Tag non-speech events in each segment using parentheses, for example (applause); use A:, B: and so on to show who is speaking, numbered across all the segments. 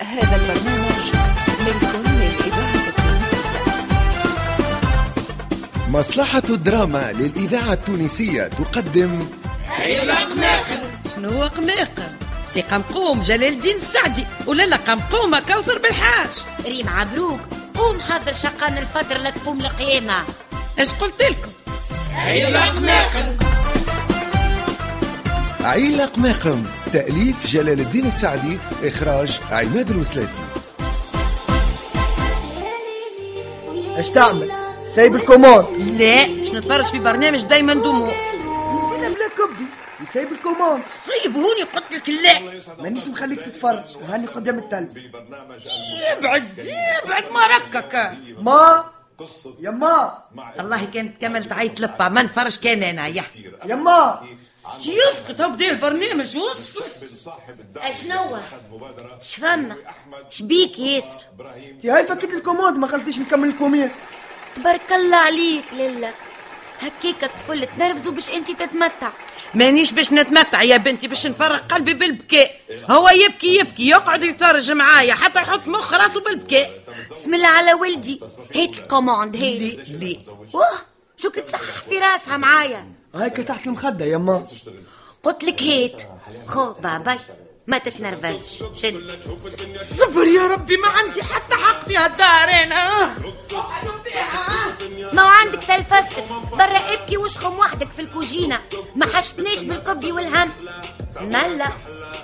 A: هذا البرنامج ملك من إذاعة تونس
B: مصلحة الدراما للإذاعة التونسية تقدم
C: شنو هو قماقم سي قمقوم جلال الدين السعدي ولا لا قمقومة كوثر بالحاج
D: ريم عبروك قوم حضر شقان الفترة لا تقوم القيامة
C: اش قلت لكم
B: عيلة قماقم تأليف جلال الدين السعدي إخراج عماد الوسلاتي
E: اش تعمل؟ سايب الكوموند
C: لا باش نتفرج في برنامج دايما دموع
E: نسينا بلا كبي سايب الكوموند
C: صيب هوني قلت لك لا
E: مانيش مخليك تتفرج هاني قدام التلفز
C: ابعد ابعد ما ركك
E: ما يا ما
C: والله كانت كمل تعيط لبا ما نفرج كان انا يا
E: يا ما
C: يسكت هبدا البرنامج وصص
D: أشنو شفما شبيك ياسر
E: انت هاي فكيت الكوموند ما خلتيش نكمل الكوميد
D: بارك الله عليك لله هكيك الطفل تنرفزوا باش انت تتمتع
C: مانيش باش نتمتع يا بنتي باش نفرق قلبي بالبكاء هو يبكي يبكي يقعد يتفرج معايا حتى يحط مخ راسه بالبكاء
D: بسم الله على ولدي هات الكوموند هات
C: لي
D: واه شو كتصحح في راسها معايا
E: هايك تحت المخدة يا ما
D: قلت لك هات خو بابا ما تتنرفزش شد
C: صبر يا ربي ما عندي حتى حق في آه. هالدار انا
D: ما هو عندك تلفزتك برا ابكي واشخم وحدك في الكوجينة ما حشتنيش بالكبي والهم ملا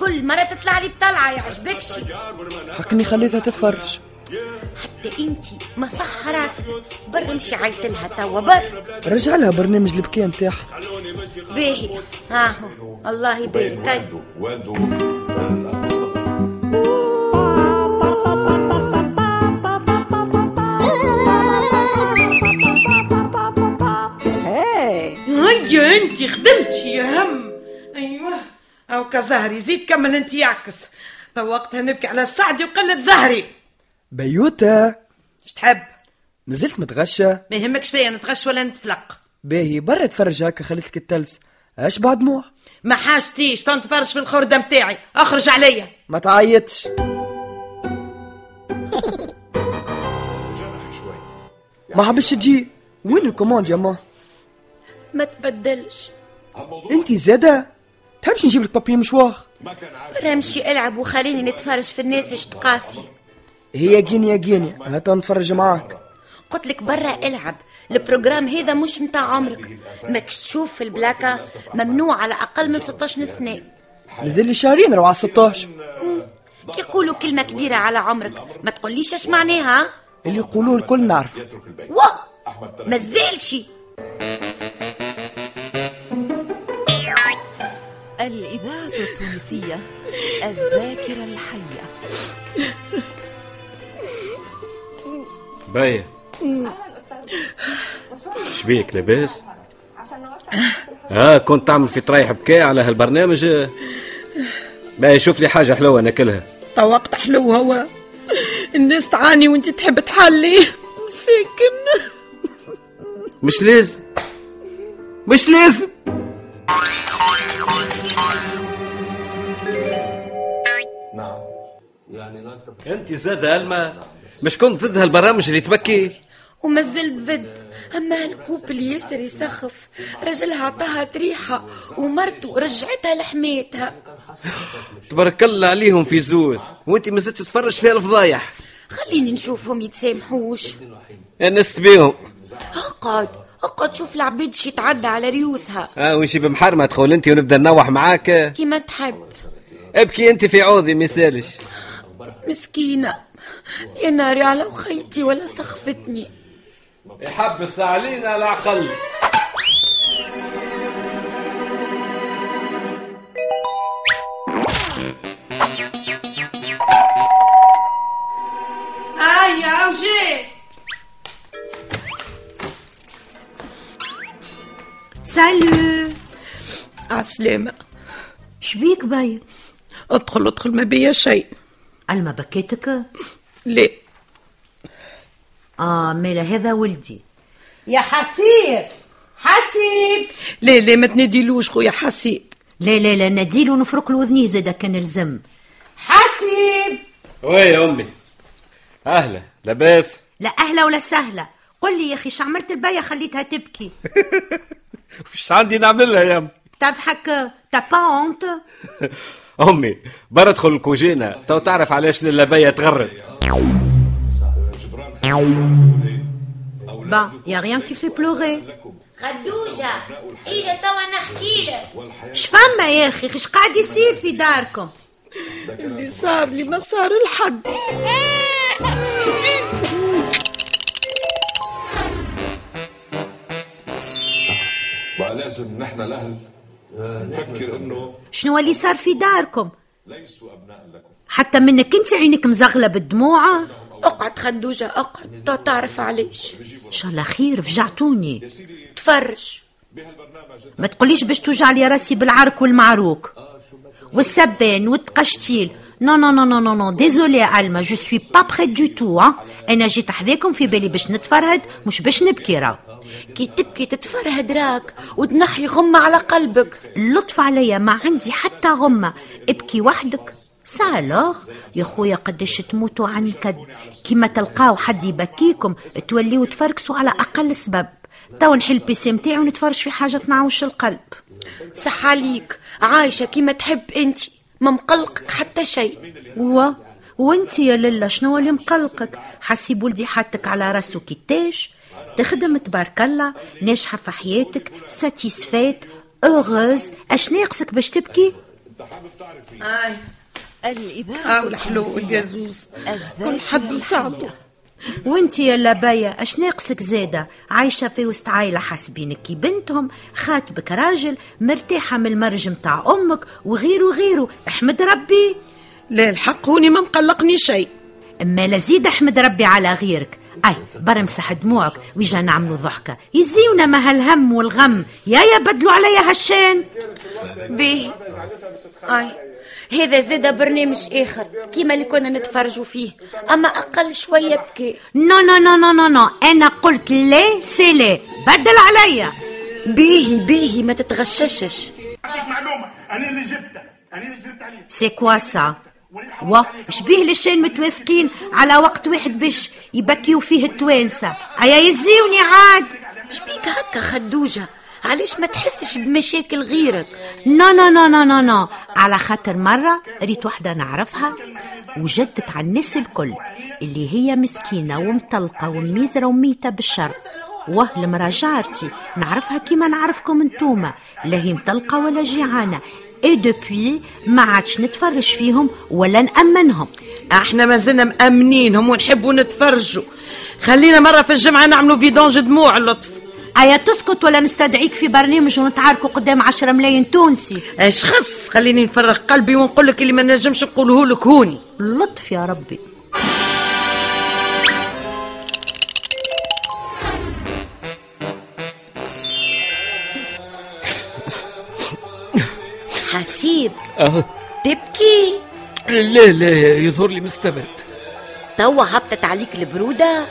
D: كل مرة تطلع لي بطلعة يعجبكش
E: حقني خليتها تتفرج
D: حتى انت ما صح راسك بر مشي عيط لها توا بر
E: رجع لها برنامج البكاء نتاعها
D: باهي هاهو الله يبارك أي.
C: هيا انت خدمت شي هم ايوه او كزهري زيد كمل انت يعكس تو وقتها نبكي على السعدي وقلة زهري
E: بيوتا
C: اش تحب
E: مازلت متغشى
C: ما يهمكش فيا نتغش ولا نتفلق
E: باهي برا تفرج هكا خليتك التلفز اش بعد دموع
C: ما حاجتيش تنتفرج في الخردة متاعي اخرج عليا
E: ما تعيطش ما حبش تجي وين الكوموند يا ما
D: ما تبدلش
E: انت زاده تحبش نجيب لك بابي مشوار
D: برا مشي العب وخليني نتفرج في الناس اش تقاسي
E: هي جينيا جينيا هاتا نتفرج معاك
D: قلت لك برا العب البروجرام هذا مش متاع عمرك ماكش تشوف في البلاكة ممنوع على اقل من 16 سنه
E: مازال لي شهرين روعة 16
D: كي يقولوا كلمه كبيره على عمرك ما تقوليش اش معناها
E: اللي يقولوه الكل نعرفه
D: واه مازالش
A: الإذاعة التونسية الذاكرة الحية
F: باية شبيك لاباس؟ ها كنت تعمل في طريح بكاء على هالبرنامج باهي شوف لي حاجة حلوة ناكلها
C: تو وقت حلو هو الناس تعاني وانت تحب تحلي (laughs) مساكن
F: مش لازم مش لازم انت زاد الما مش كنت ضد هالبرامج اللي تبكي
D: وما زلت ضد اما الكوب اللي ياسر يسخف رجلها عطاها تريحه ومرته رجعتها لحماتها
F: تبارك الله عليهم في زوز وانت ما زلت تتفرج فيها الفضايح
D: خليني نشوفهم يتسامحوش
F: نست بيهم
D: اقعد اقعد شوف العبيد شي يتعدى على ريوسها
F: اه وشي بمحرمة تقول انت ونبدا نوح معاك
D: كيما تحب
F: ابكي انت في عوضي ما يسالش
D: مسكينة يا ناري على وخيتي ولا سخفتني
F: يحبس علينا العقل
C: هيا وجي
G: سالو
C: عالسلامة
G: شبيك باي
C: ادخل ادخل ما بيا شيء
G: الما بكيتك
C: ليه
G: اه مالا هذا ولدي يا حسيب حسيب
C: ليه ليه ما تناديلوش خويا حسيب
G: لا لا لا نديله نفرك له وذنيه زاد كان لزم حسيب
F: وي يا امي اهلا لاباس
G: لا أهلا ولا سهلة قل لي يا أخي شو عملت البيا خليتها تبكي
F: وش عندي نعملها (laughs) يا امي
G: تضحك تا با اونت
F: امي برا ادخل الكوجينه تو تعرف علاش للبيه تغرد
G: با يا غيان كي في بلوغي
D: خدوجة إيجا توا نحكي لك
G: شفما يا أخي خش قاعد يصير في داركم
C: اللي صار لي ما صار الحد
H: بقى لازم نحن الاهل نفكر انه
G: شنو اللي صار في داركم
H: ليسوا ابناء لكم
G: حتى منك انت عينك مزغلة بالدموع
A: اقعد خدوجة اقعد تا تعرف علاش
G: ان شاء الله خير فجعتوني
A: تفرج
G: ما تقوليش باش توجع لي راسي بالعرك والمعروك والسبان والتقشتيل نو نو نو نو نو نو ديزولي الما جو سوي با بري دو تو ها انا جيت حذاكم في بالي باش نتفرهد مش باش نبكي راه
A: كي تبكي تتفرهد راك وتنحي غمة على قلبك
G: اللطف عليا ما عندي حتى غمه ابكي وحدك سالوغ يا خويا قداش تموتوا عن كد كيما تلقاو حد يبكيكم توليوا تفركسوا على اقل سبب تو نحل البيسي متاعي ونتفرج في حاجه تنعوش القلب
A: صح عليك عايشة كيما تحب انت ما مقلقك حتى شيء
G: و وانت يا للا شنو اللي مقلقك حسي بولدي حاتك على راسه كيتاش تخدم تبارك الله ناجحه في حياتك ساتيسفيت اوغوز اش ناقصك باش تبكي
C: آي
I: الإذاعة
C: هاو الحلو يا زوز
I: الذاكرة
C: كل حد وساعته
G: وانت يا لبايا اش ناقصك زاده عايشه في وسط عائله حاسبينك كي بنتهم خاتبك راجل مرتاحه من المرج متاع امك وغيره وغيره احمد ربي
C: لا الحق هوني ما مقلقني شيء
G: اما لزيد احمد ربي على غيرك اي برمسح دموعك ويجا نعملوا ضحكه يزيونا ما هالهم والغم يا يا بدلوا عليا هالشان
D: بيه آي هذا زاد برنامج آخر كيما اللي كنا نتفرجوا فيه أما أقل شوية بكي
G: نو نو نو نو نو نو انا قلت لي سي لي بدل عليا
A: باهي باهي ما تتغششش
J: اعطيك معلومه انا اللي جبتها انا اللي جبت عليك
G: سي كوا سا وا شبيه للشين متوافقين على وقت واحد باش يبكيو فيه التوانسه ايا يزيوني عاد
D: شبيك هكا خدوجة علاش ما تحسش بمشاكل غيرك
G: نو نو نو نو نو نو على خاطر مرة ريت وحدة نعرفها وجدت على الناس الكل اللي هي مسكينة ومطلقة وميزرة وميتة بالشر وه المرا جارتي نعرفها كيما نعرفكم انتوما لا هي مطلقة ولا جيعانة اي دوبوي ما عادش نتفرج فيهم ولا نأمنهم
C: احنا ما زلنا مأمنينهم ونحبوا نتفرجوا خلينا مرة في الجمعة نعملوا بيدونج دموع اللطف
G: ايا تسكت ولا نستدعيك في برنامج ونتعاركوا قدام عشرة ملايين تونسي
C: اش خص خليني نفرغ قلبي ونقول لك اللي ما نجمش نقوله لك هوني
G: لطف يا ربي
D: حسيب تبكي
F: لا لا يظهر لي مستبد
D: توا هبطت عليك البرودة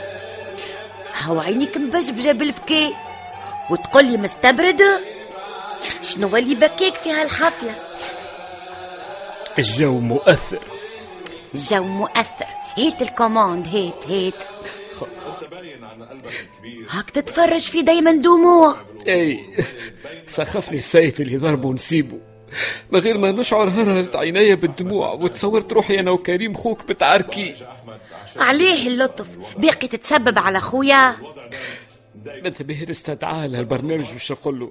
D: هاو عينيك مبجبجة بالبكاء وتقولي مستبردة شنو اللي بكيك في هالحفلة
F: الجو مؤثر
D: الجو مؤثر هيت الكوموند هيت هيت هاك تتفرج في دايما دموع
F: اي سخفني السيد اللي ضربه ونسيبه من غير ما نشعر هرهرت عينيا بالدموع وتصورت روحي انا وكريم خوك بتعاركي
D: عليه اللطف باقي تتسبب على خويا
F: ماذا به نستدعى لهالبرنامج باش نقول له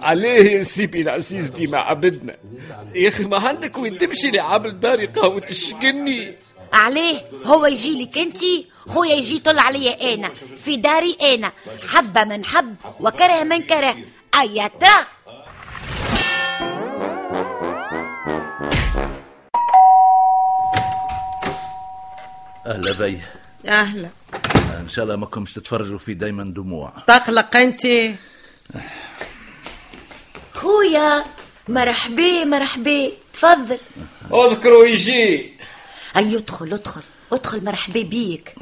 F: عليه يا سيبي العزيز ديما عبدنا يا اخي ما عندك وين تمشي لعامل داري قهوه تشقني
D: عليه هو يجي لك انت خويا يجي يطل عليا انا في داري انا حب من حب وكره من كره ايا ترى
K: اهلا بي
C: اهلا
K: ان شاء الله ما كنتش تتفرجوا في دايما دموع
C: تقلق انت
D: خويا مرحبا مرحبا تفضل
F: اذكروا يجي
D: اي ادخل ادخل ادخل مرحبا بيك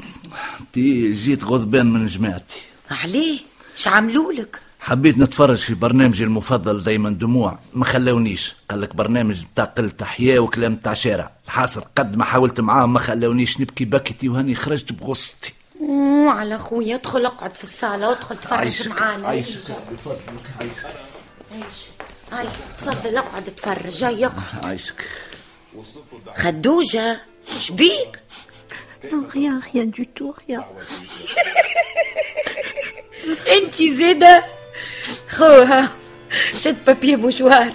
K: انت جيت غضبان من جماعتي
D: عليه شعملولك
L: حبيت نتفرج في برنامجي المفضل دايما دموع ما خلاونيش قال لك برنامج بتاع قلة تحية وكلام تاع شارع الحاصل قد ما حاولت معاهم ما خلاونيش نبكي بكتي وهاني خرجت بغصتي
D: أوه، على خويا ادخل اقعد في الصالة وادخل تفرج
L: عايشك،
D: معانا
L: عايشك.
D: عايشك. هاي تفضل اقعد تفرج هاي اقعد
L: عايشك
D: خدوجة شبيك
G: Rien, rien du tout, rien.
D: انتي زيدة خوها شد بابي مشوار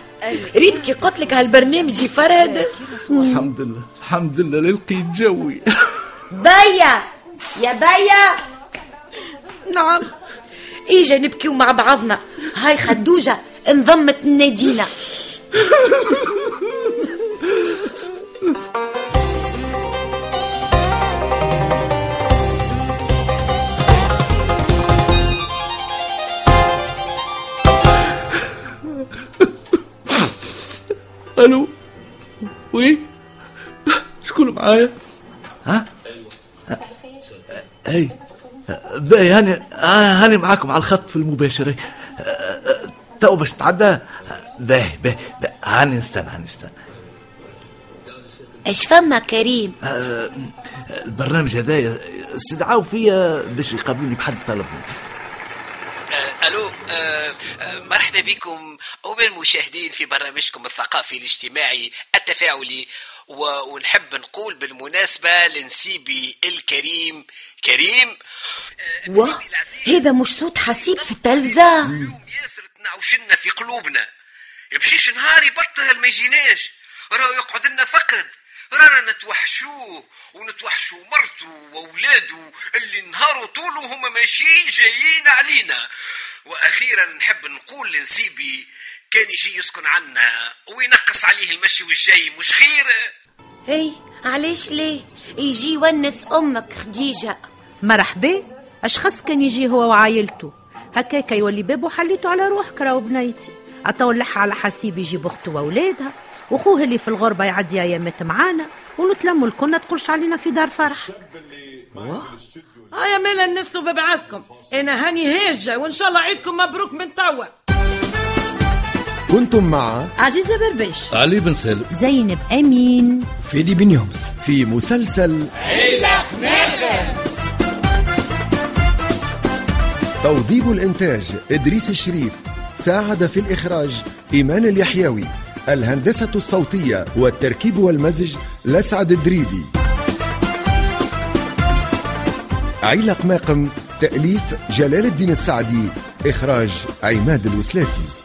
D: ريت كي قلت لك هالبرنامج يفرهد
L: الحمد لله الحمد لله للقيت جوي
D: بيا يا بيا
M: نعم
D: اجا نبكيو مع بعضنا هاي خدوجة انضمت لنادينا
N: الو وي شكون معايا
L: اي باهي هاني آه، هاني معاكم على الخط في المباشرة آه، آه، تو باش نتعدى باهي باهي باهي. هاني نستنى هاني نستنى
O: اش فما كريم
L: آه، البرنامج هذايا استدعاو فيا آه، باش يقابلوني بحد طلبني
F: آه، الو آه، آه، مرحبا بكم وبالمشاهدين في برنامجكم الثقافي الاجتماعي التفاعلي و- ونحب نقول بالمناسبه لنسيبي الكريم كريم آه،
D: واه
F: نسيبي العزيز
D: هذا مش صوت حسيب في التلفزة
F: اليوم ياسر تنعوشنا في قلوبنا يمشيش نهار يبطل ما يجيناش راهو يقعد لنا فقد رانا نتوحشوه ونتوحشوا مرته واولاده اللي نهاروا طوله هما ماشيين جايين علينا واخيرا نحب نقول لنسيبي كان يجي يسكن عنا وينقص عليه المشي والجاي مش خير
O: هي علاش ليه يجي يونس امك خديجه
G: مرحبا اشخاص كان يجي هو وعائلته هكاك يولي بابه حليته على روحك راهو بنيتي اتولح على حسيب يجيب اخته واولادها وخوه اللي في الغربه يعدي ايامات معانا ونتلموا الكل ما تقولش علينا في دار فرح
C: اه يا مالا الناس ببعثكم انا هاني هاجه وان شاء الله عيدكم مبروك من توا
B: كنتم مع
G: عزيزه بربش
L: علي بن سالم
G: زينب امين
M: فيدي بن يومس
B: في مسلسل توظيف الإنتاج إدريس الشريف ساعد في الإخراج إيمان اليحيوي الهندسة الصوتية والتركيب والمزج لسعد الدريدي عيلق ماقم تأليف جلال الدين السعدي إخراج عماد الوسلاتي